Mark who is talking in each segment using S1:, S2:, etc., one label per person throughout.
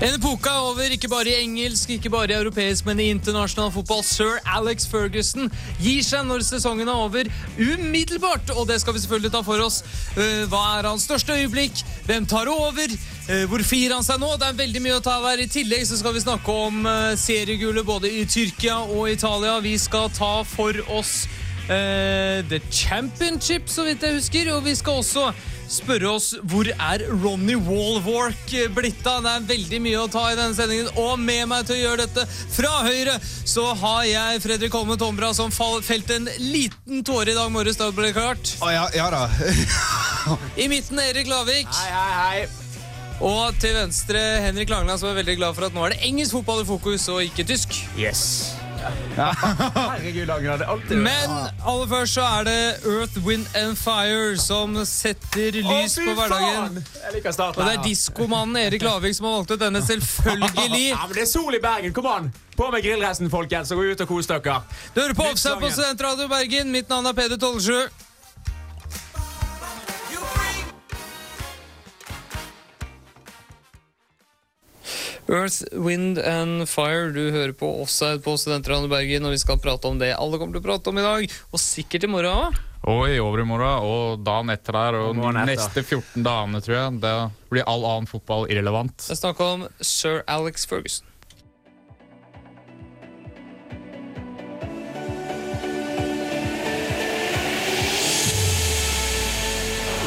S1: En epoke er over, ikke bare i engelsk, ikke bare i europeisk, men i internasjonal fotball. Sir Alex Ferguson gir seg når sesongen er over, umiddelbart. Og det skal vi selvfølgelig ta for oss. Eh, Hva er hans største øyeblikk? Hvem tar over? Eh, Hvor firer han seg nå? Det er veldig mye å ta av her. I tillegg så skal vi snakke om eh, seriegullet både i Tyrkia og Italia. Vi skal ta for oss Eh, The Championship, så vidt jeg husker. Og vi skal også spørre oss hvor er Ronny Wallwalk eh, blitt av? Det er veldig mye å ta i denne sendingen. Og med meg til å gjøre dette fra høyre så har jeg Fredrik Holme Tombra som fall- felte en liten tåre i dag morges. Da ble det klart.
S2: Å, ja, ja da.
S1: I midten Erik Lavik.
S3: Hei, hei, hei.
S1: Og til venstre Henrik Langland, som er veldig glad for at nå er det engelsk fotball i fokus, og ikke tysk.
S3: Yes. Herregud, Agnar. Det er alltid
S1: Men aller først så er det Earth, Wind and Fire som setter lys på hverdagen.
S3: Jeg liker starten.
S1: Og det er diskomannen Erik Lavik som har valgt ut denne, selvfølgelig.
S3: Ja, men det er sol i Bergen. Kom an! På med grillresten, folkens, og gå ut og kos dere.
S1: Du hører på Offside på Studentradio Bergen. Mitt navn er Peder Tollesjø. Earth, Wind and Fire, du hører på Offside på Studentradio Bergen, og vi skal prate om det alle kommer til å prate om i dag, og sikkert i morgen òg.
S4: Og i overmorgen og dagen etter der og
S3: Og morgenen etter.
S4: neste 14 dagene, tror jeg. Da blir all annen fotball irrelevant.
S1: Det er snakk om sir Alex Ferguson.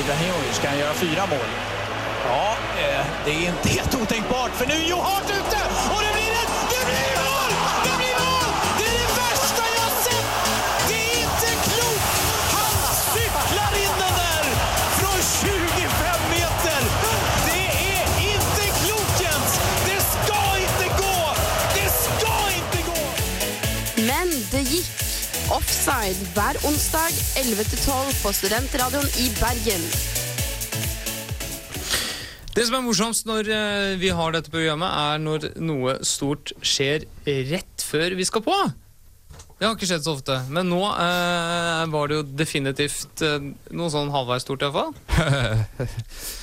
S5: Ibrahimovic, kan han göra fyra mål? Ja, eh, det är inte helt otänkbart, för nu är Joe Hart ute! Och det blir ett... Det blir mål! Det blir mål! Det är det värsta jag sett! Det är inte klokt! Han cyklar in den där från 25 meter! Det är inte klokt, Jens! Det ska inte gå! Det ska inte gå!
S6: Men det gikk. Offside hver onsdag 11-12 på Studentradioen i Bergen.
S1: Det som er morsomst når eh, vi har dette programmet, er når noe stort skjer rett før vi skal på. Det har ikke skjedd så ofte, men nå eh, var det jo definitivt eh, noe sånn halvveis stort iallfall.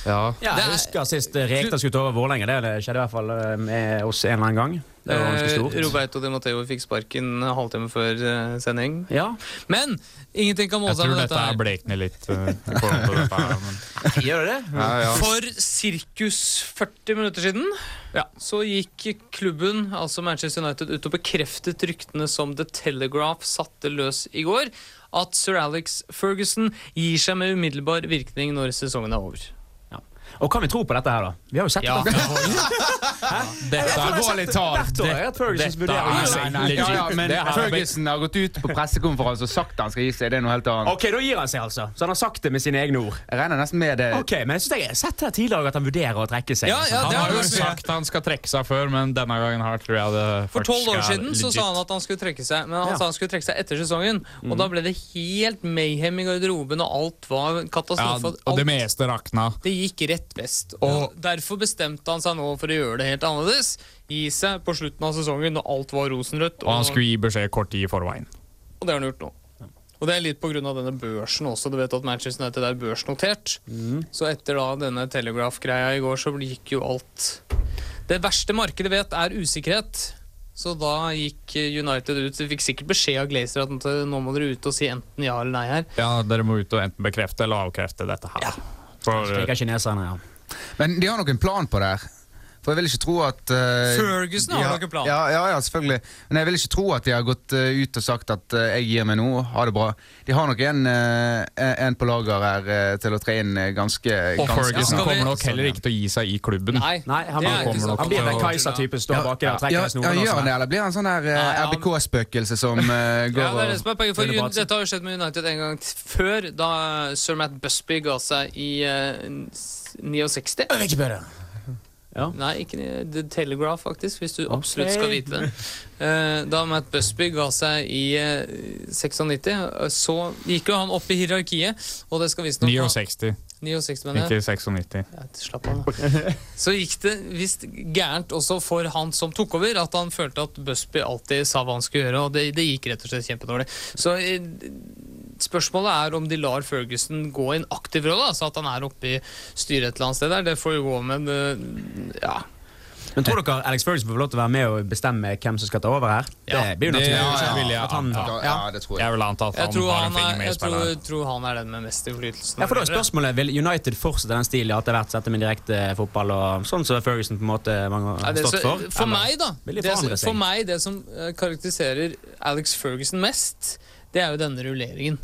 S4: Ja.
S1: Det
S3: Ja,
S1: er-
S3: jeg husker sist eh, Rekdal skulle ta over Vålerenga. Det det skjedde i hvert fall eh, med oss en eller annen gang. Det var
S1: Eh,
S3: ganske stort.
S1: Roberto Di Matteo fikk sparken en halvtime før eh, sending.
S3: Ja,
S1: Men ingenting kan måle
S4: Jeg
S1: seg
S4: tror
S1: med
S4: dette
S1: Altså, dette
S4: er
S1: her.
S4: blekner litt. eh, i forhold til dette her, men...
S3: gjør det det?
S4: ja, ja.
S1: For sirkus 40 minutter siden
S4: Ja.
S1: så gikk klubben, altså Manchester United, ut og bekreftet ryktene som The Telegraph satte løs i går, at sir Alex Ferguson gir seg med umiddelbar virkning når sesongen er over.
S3: Ja. Og kan vi tro på dette her, da? Vi har jo sett
S1: Ja.
S3: det.
S4: Dette
S3: tror jeg har sett
S4: alvorlig talt.
S3: hvert år, jeg, at Fergusons
S4: Dette er-
S3: vurdering er
S4: nei,
S3: seg.
S4: nei,
S3: Ja, ja,
S4: legit.
S3: men-
S4: Det her er
S2: Ferguson har gått ut på pressekonferanse og sagt han skal gi seg. Det er noe helt annet.
S3: OK, da gir han seg, altså. Så han har sagt det med sine egne ord.
S2: Jeg regner nesten med det.
S3: Ok, men jeg synes jeg har sett her tidligere at han vurderer å trekke seg.
S1: Ja, ja,
S4: Han
S1: det
S4: har
S1: har
S4: jo
S1: vært mye.
S4: sagt han skal trekke seg før, men denne gangen her tror jeg det
S1: For tolv år
S4: faktisk er
S1: siden så sa han at han skulle trekke seg, men han
S3: Ja.
S1: sa han skulle trekke seg etter sesongen. Og
S4: Mm.
S1: da ble det helt mayhem i garderoben, og alt var
S4: ja,
S1: katastrofe.
S4: Og det
S1: alt,
S4: meste rakna.
S1: det gikk rett vest. Og derfor bestemte han seg nå for å gjøre det helt annerledes. Gi seg på slutten av sesongen når alt var rosenrødt.
S4: Og han skulle gi beskjed kort tid i forveien.
S1: Og det har han gjort nå. Og det er litt pga. denne børsen også. Du vet at Manchester United er børsnotert.
S4: Mm.
S1: Så etter da denne Telegraph-greia i går, så gikk jo alt Det verste markedet vet, er usikkerhet. Så da gikk United ut. De fikk sikkert beskjed av Glazer at nå må dere ut og si enten ja eller nei her.
S4: Ja, Dere må ut og enten bekrefte eller avkrefte dette her. For, eh,
S3: Slik er Altså, kineserne, ja.
S2: Men de har nok en plan på det her. For jeg vil ikke tro at eh,
S1: Ferguson har
S2: de
S1: nok en plan.
S2: Ja, ja, ja, selvfølgelig. Men jeg vil ikke tro at de har gått eh, ut og sagt at eh, 'jeg gir meg nå, ha det bra'. De har nok en, eh, en på lager her eh, til å tre inn eh, ganske
S4: og
S2: ganske
S4: Ferguson
S1: altså. Skal vi-
S4: kommer nok heller ikke til å gi seg i klubben.
S1: Nei,
S3: Nei, han,
S1: det
S4: bare
S1: er ikke
S4: kommer
S1: sant.
S4: nok
S3: han blir den Kaiser-typen, står baki der og
S2: ja,
S3: trekker i
S2: ja,
S3: snoren. og
S2: gjør
S3: sånn.
S2: han det, eller blir han sånn der
S1: Nei, han-
S2: RBK-spøkelse som eh, går
S1: Ja, det er det som er poenget. For
S2: under
S1: Un-
S2: bratsen?
S1: dette har jo skjedd med United en gang t- før, da sir Matt Busby ga seg i eh, n- s- 69.
S3: Jeg vet ikke bedre.
S1: Nei, ikke ni- The Telegraph, faktisk, hvis du
S3: Ok.
S1: absolutt skal vite det. Eh, Da Matt Busby ga seg i eh, 96, eh, så gikk jo han opp i hierarkiet, og det skal visstnok
S4: 69,
S1: 69, mener jeg.
S4: ikke 96.
S1: Ja, Slapp av, da. Så gikk det visst gærent også for han som tok over, at han følte at Busby alltid sa hva han skulle gjøre, og det, det gikk rett og slett kjempedårlig. Så eh, spørsmålet er om de lar Ferguson gå i en aktiv rolle, altså at han er oppe i styret et eller annet sted der. Det får jo gå, men eh, ja
S3: Men tror dere Alex Ferguson får lov til å være med og bestemme hvem som skal ta over her? det blir jo
S4: det
S3: naturlig.
S4: ja,
S3: ikke sant?
S4: vil jeg
S3: At han-
S4: anta.
S2: Ja,
S3: ja.
S2: det tror jeg.
S4: Jeg vil anta at
S1: Jeg
S4: han
S1: tror
S4: har
S1: han,
S4: en finger
S1: er,
S4: med i
S1: jeg tror,
S4: spillet.
S1: tror han er den med mest innflytelse.
S3: Ja, for da er spørsmålet, Vil United fortsette den stilen at det har vært dette med direkte fotball og sånn som Ferguson på en måte mange
S1: Ja,
S3: har
S1: det,
S3: stått
S1: så,
S3: for?
S1: for
S3: Eller?
S1: meg, da.
S3: Vil de
S1: Det, som-
S3: forandre seg?
S1: for meg, det som eh, karakteriserer Alex Ferguson mest, det er jo denne rulleringen.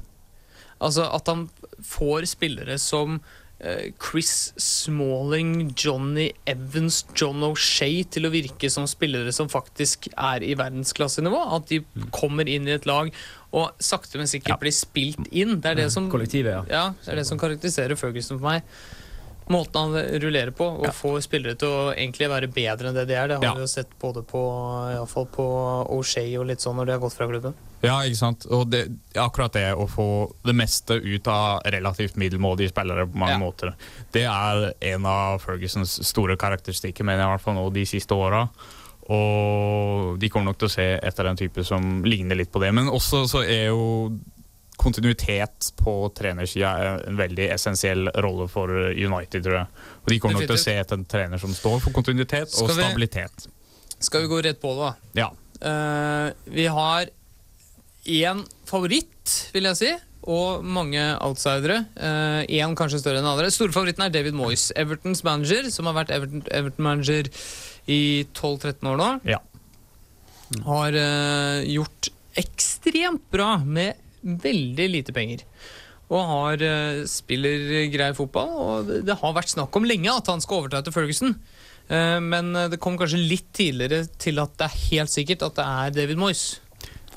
S1: Altså at han får spillere som eh, Chris Smalling, Johnny Evans, John O'Shay til å virke som spillere som faktisk er i verdensklassenivå. At de
S3: Mm.
S1: kommer inn i et lag og sakte, men sikkert blir spilt inn. Det er
S3: Mm.
S1: det som,
S3: Kollektivet, ja.
S1: ja, det er det som karakteriserer Ferguson for meg. Måten han rullerer på, og får spillere til å egentlig være bedre enn det de er, det har
S4: Ja.
S1: vi jo sett både på, i alle fall på O'Shay og litt sånn når de har gått fra klubben.
S4: Ja, ikke sant? Og det, akkurat det å få det meste ut av relativt middelmådige spillere på mange
S1: Ja.
S4: måter, det er en av Fergusons store karakteristikker, mener jeg i hvert fall nå de siste åra. Og de kommer nok til å se etter en type som ligner litt på det. Men også så er jo kontinuitet på trenersida en veldig essensiell rolle for United, tror jeg. Og de kommer nok til å se etter en trener som står for kontinuitet og
S1: Skal vi-
S4: stabilitet.
S1: Skal vi gå rett på det, da?
S4: Ja.
S1: Eh, vi har én favoritt, vil jeg si, og mange outsidere. Eh, Én kanskje større enn andre. Storfavoritten er David Moyes, Evertons manager, som har vært Everton- Everton-manager i 12-13 år nå.
S4: ja.
S1: Har eh, gjort ekstremt bra med veldig lite penger. Og har, eh, spiller grei fotball. Og det, det har vært snakk om lenge at han skal overta etter Ferguson. Eh, men eh, det kom kanskje litt tidligere til at det er helt sikkert at det er David Moyes.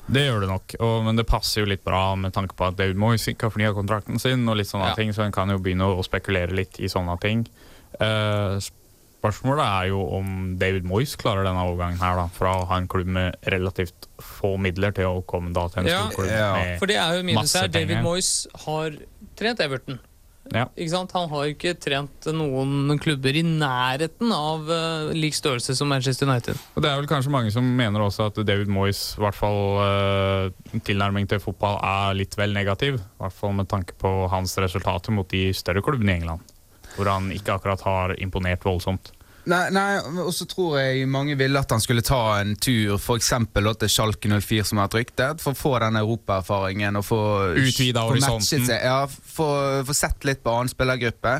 S4: Det gjør det nok, og, men det passer jo litt bra med tanke på at David Moyes ikke har fornya kontrakten sin, og litt sånne
S1: Ja.
S4: ting, så en kan jo begynne å spekulere litt i sånne ting. Eh, spørsmålet er jo om David Moyes klarer denne overgangen her, da, fra å ha en klubb med relativt få midler til å komme da til en
S1: Ja.
S4: stor klubb
S2: Ja.
S4: med
S1: For det er jo minus
S4: Eh, Masse
S1: her. David
S4: penger.
S1: Moyes har trent Everton.
S4: Ja.
S1: Ikke sant? Han har jo ikke trent noen klubber i nærheten av eh, lik størrelse som Manchester United.
S4: Og det er vel kanskje mange som mener også at David Moyes i hvert fall eh, tilnærming til fotball er litt vel negativ. I hvert fall med tanke på hans resultater mot de større klubbene i England, hvor han ikke akkurat har imponert voldsomt.
S2: Nei, nei og så tror jeg mange ville at han skulle ta en tur for eksempel, da, til Schalke 04, som har vært ryktet, for å få den europaerfaringen og få
S4: Utvide
S2: få matchet
S4: horisonten.
S2: seg. Ja, få, få sett litt på annen spillergruppe.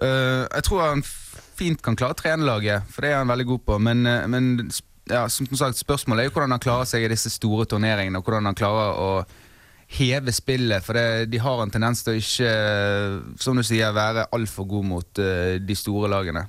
S2: Eh, jeg tror han f- fint kan klare trenerlaget, for det er han veldig god på. Men, eh, men sp- ja, som sagt, spørsmålet er jo hvordan han klarer seg i disse store turneringene, og hvordan han klarer å heve spillet. For det, de har en tendens til å ikke, eh, som du sier, være altfor god mot eh, de store lagene.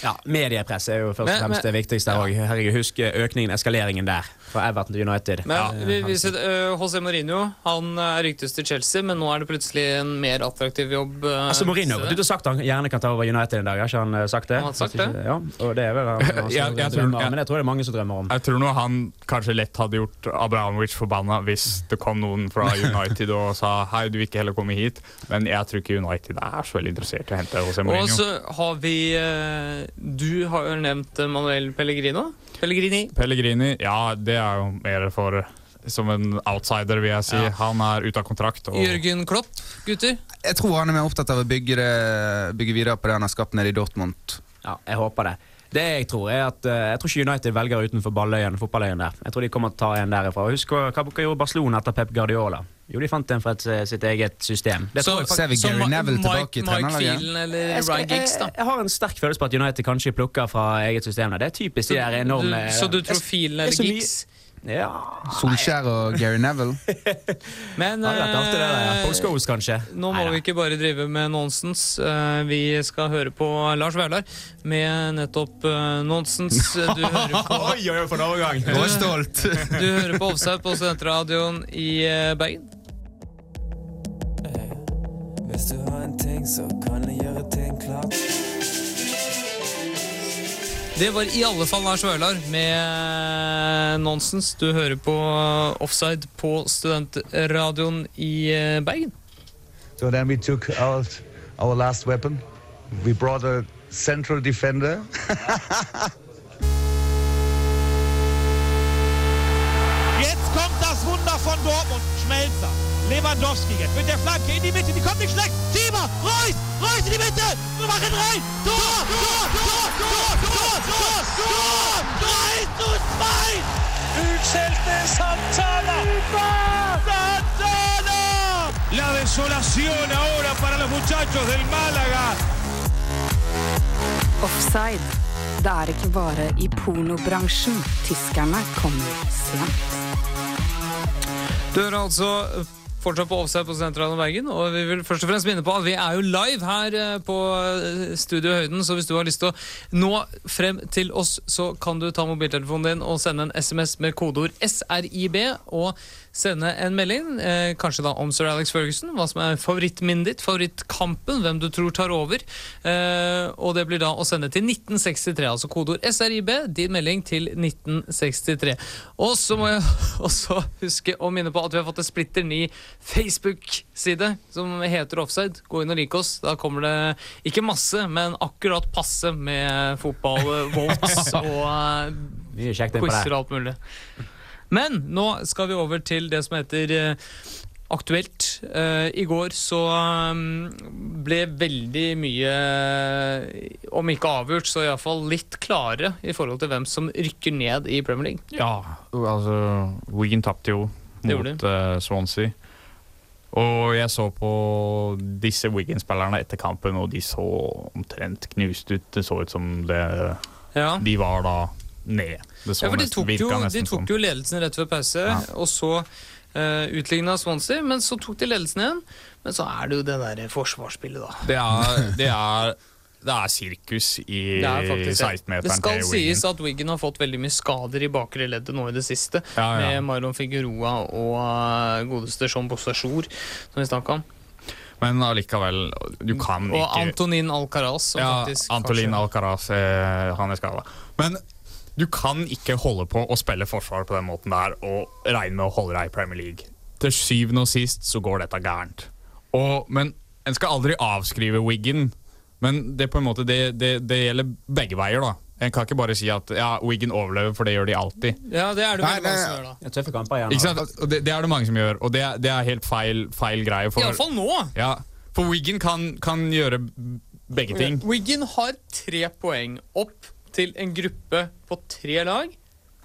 S3: Ja, Mediepress er jo først
S1: Men-
S3: og fremst
S1: men-
S3: det viktigste. her også. Herregud, Husk eh, økningen, eskaleringen der, fra Everton til United.
S1: Men vi, vi ser, øh, José Mourinho han øh, ryktes til Chelsea, men nå er det plutselig en mer attraktiv jobb. øh,
S3: Altså Mourinho har gått ut og sagt at han gjerne kan ta over United en dag. Har ikke han eh, sagt det?
S1: Han har sagt det.
S3: Ja, og det er vel han, han
S4: Jeg- jeg tror-
S3: drømmer, om, Men jeg tror det er mange som drømmer om.
S4: Jeg tror nå han kanskje lett hadde gjort Abramovic forbanna hvis det kom noen fra United og sa hei, du vil ikke heller komme hit. Men jeg tror ikke United er så veldig interessert i å hente José
S1: Og
S4: Mourinho.
S1: så har vi øh, Du har jo nevnt øh, Manuel Pellegrino. Pellegrini.
S4: Pellegrini, ja, det er jo mer for som en outsider, vil jeg si. Han er ute av kontrakt. Og
S1: Jørgen Klopp, gutter.
S2: Jeg tror han er mer opptatt av å bygge, det, bygge videre på det han har skapt nede i Dortmund.
S3: Ja, jeg håper det. Det Jeg tror er at eh, Jeg tror ikke United velger utenfor balløyen, fotballøyen der. Jeg tror de kommer til å ta en derifra. Og Husk hva, hva gjorde Barcelona etter Pep Guardiola? Jo, de fant en fra et, eh, sitt eget system. Det
S2: Så
S3: tror jeg
S2: ser vi
S1: Som
S2: Gary
S1: Ma-
S2: Neville tilbake
S1: Mike,
S2: i
S1: Mike
S2: trenerlaget.
S1: Phelan eller
S3: Jeg, skal,
S1: Ryan
S3: jeg,
S1: Giggs, da.
S3: jeg har en sterk følelse på at United kanskje plukker fra eget system. der. Det er typisk de der enorme
S1: du, så du tror Phelan eller
S3: Det er så mye-
S1: Giggs?
S3: Ja,
S2: Solskjær og Gary Neville.
S1: Men
S3: det hadde vært artig, det der.
S1: øh,
S3: Paul Scholes, kanskje.
S1: nå må
S3: Neida.
S1: vi ikke bare drive med nonsens. Eh, Vi skal høre på Lars Vaular med nettopp eh, nonsens. Du hører på
S3: Oi, oi, oi, for en overgang!
S2: Jeg var stolt!
S1: Du hører på Offside på Studentradioen i eh, Bergen.
S7: Eh, Hvis du har en ting, så kan jeg gjøre ting klart.
S1: Det var i alle fall Lars Vølar med nonsens. Du hører på Offside på Studentradioen i eh, Bergen.
S8: So then we took out our last weapon. We brought a central defender.
S5: Jetzt kommt das Wunder von Dortmund. Schmelzer. Lewandowski jetzt mit der Flanke in die Mitte, die kommt nicht schlecht. Schieber, Reus, Reus in die Mitte, wir machen rein. Tor, Tor, Tor, Tor, Tor, Tor, Tor, 3 zu 2.
S9: Utskjelte Santana! ¡Santana! La desolación ahora para los muchachos del Málaga.
S6: Offside. Det er ikke bare i pornobransjen tyskerne kommer sent.
S1: Du hører altså fortsatt på Offside på Sentralen i Bergen, og vi vil først og fremst minne på at vi er jo live her eh, på eh, Studio Høyden, så hvis du har lyst til å nå frem til oss, så kan du ta mobiltelefonen din og sende en SMS med kodeord SRIB, og sende en melding, eh, kanskje da om Sir Alex Ferguson, hva som er favorittminnet ditt, favorittkampen, hvem du tror tar over, eh, og det blir da å sende til 1963, altså kodeord SRIB, din melding til 1963. Og så må jeg også huske å minne på at vi har fått en splitter ny Facebook-side som heter Offside. Gå inn og lik oss. Da kommer det ikke masse, men akkurat passe med fotball, eh, votes og eh,
S3: Mye kjekt inn på
S1: quizer og
S3: det.
S1: alt mulig. Men nå skal vi over til det som heter eh, Aktuelt. Eh, I går så mm, ble veldig mye, eh, om ikke avgjort, så iallfall litt klare i forhold til hvem som rykker ned i Premier League.
S4: Ja, altså Wigan tapte jo
S1: Det
S4: mot
S1: gjorde
S4: eh, Swansea. Og jeg så på disse Wigan-spillerne etter kampen, og de så omtrent knust ut. Det så ut som det,
S1: Ja.
S4: de var da nede. Det så
S1: Ja, for de
S4: nesten-
S1: tok,
S4: virka
S1: jo, de
S4: nesten
S1: tok
S4: sånn.
S1: jo ledelsen rett før pause,
S4: Ja.
S1: og så uh, utligna Swansea, men så tok de ledelsen igjen. Men så er det jo det der forsvarsspillet, da.
S4: Det er, det er, det er sirkus i
S1: Det er faktisk det.
S4: 16-meteren
S1: Det skal
S4: til Wigan.
S1: sies at Wiggen har fått veldig mye skader i bakre leddet nå i det siste,
S4: Ja, ja.
S1: med Marlon Figueroa og eh, godeste Jean Bossajour, som vi snakka om,
S4: Men allikevel, du kan
S1: og
S4: ikke
S1: Antonin Alcaraz, som faktisk
S4: Antolin
S1: kanskje-
S4: Alcaraz, eh, han er skada. Men du kan ikke holde på å spille forsvar på den måten der og regne med å holde deg i Premier League. Til syvende og sist så går dette gærent. Og, men en skal aldri avskrive Wiggen. Men det, er på en måte, det, det, det gjelder begge veier, da. En kan ikke bare si at ja, Wiggen overlever, for det gjør de alltid.
S1: Ja, det er det
S2: Nei,
S1: veldig mange
S2: nei,
S1: som gjør, da.
S3: Det er Tøffe kamper igjen.
S4: Ikke
S3: altså.
S4: sant? Og Det, det er det mange som gjør, og det, er- det er helt feil, feil greie. For,
S1: Iallfall nå!
S4: ja, for Wiggen kan, kan gjøre begge ting.
S1: Wiggen har tre poeng opp til en gruppe på tre lag.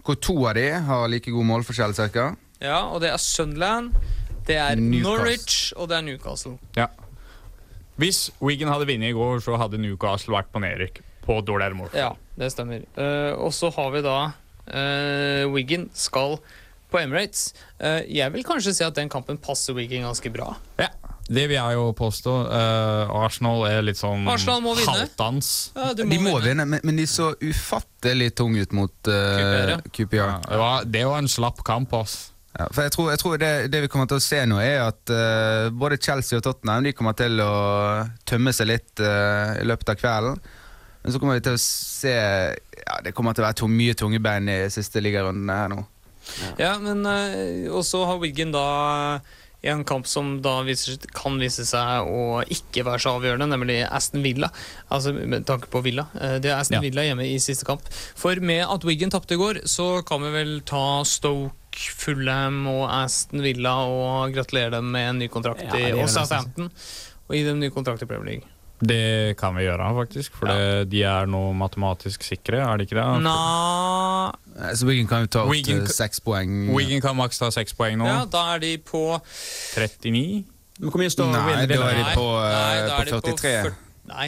S2: Hvor to av de har like god målforskjell, cirka.
S1: Ja, og det er Sunderland, det er
S2: Newcastle.
S1: Norwich og det er Newcastle.
S4: Ja. Hvis Wigan hadde vunnet i går, så hadde Newcastle vært på nedrykk. På dårligere mål.
S1: Ja, det stemmer. Eh, og så har vi da uh, Wigan skal på Emirates. Eh, jeg vil kanskje si at den kampen passer Wigan ganske bra.
S4: Ja, Det vil jeg jo påstå. Eh, Arsenal er litt sånn
S1: Arsenal må vinne.
S4: halvdans.
S2: De må vinne, men, men de så ufattelig tunge ut mot uh,
S1: QPR,
S2: QPR.
S4: Det var, det var en slapp kamp, ass.
S2: Ja, for jeg tror, jeg tror det, det vi kommer til å se nå, er at eh, både Chelsea og Tottenham de kommer til å tømme seg litt eh, i løpet av kvelden. Men så kommer vi til å se ja, Det kommer til å være tung, mye tunge bein i siste ligarundene her nå.
S1: Ja, men eh, Og så har Wigan da en kamp som da viser, kan vise seg å ikke være så avgjørende, nemlig Aston Villa. Altså med tanke på Villa. Eh, Det er Aston
S4: Ja.
S1: Villa hjemme i siste kamp. For med at Wigan tapte i går, så kan vi vel ta Stoke, Fulham og Aston Villa og gratulere dem med en ny kontrakt
S3: Ja, det
S1: i
S3: gjør
S1: og
S3: vi
S1: Southampton. Og gi dem ny kontrakt i Premier League.
S4: Det kan vi gjøre, faktisk. For det, de er nå matematisk sikre, er de ikke det?
S1: Nei
S2: Eh, Så Wigan kan jo ta opp
S4: Wigan
S2: til
S4: kan-
S2: seks poeng.
S4: Wigan kan maks ta seks poeng nå.
S1: Ja, da er de på
S4: 39.
S3: Men hvor mye står
S2: Nei,
S3: Will
S2: det
S3: Villa?
S2: var- er de
S1: Nei,
S2: på, eh,
S1: nei, da er
S2: på
S1: de
S2: 43.
S1: fyr- Nei.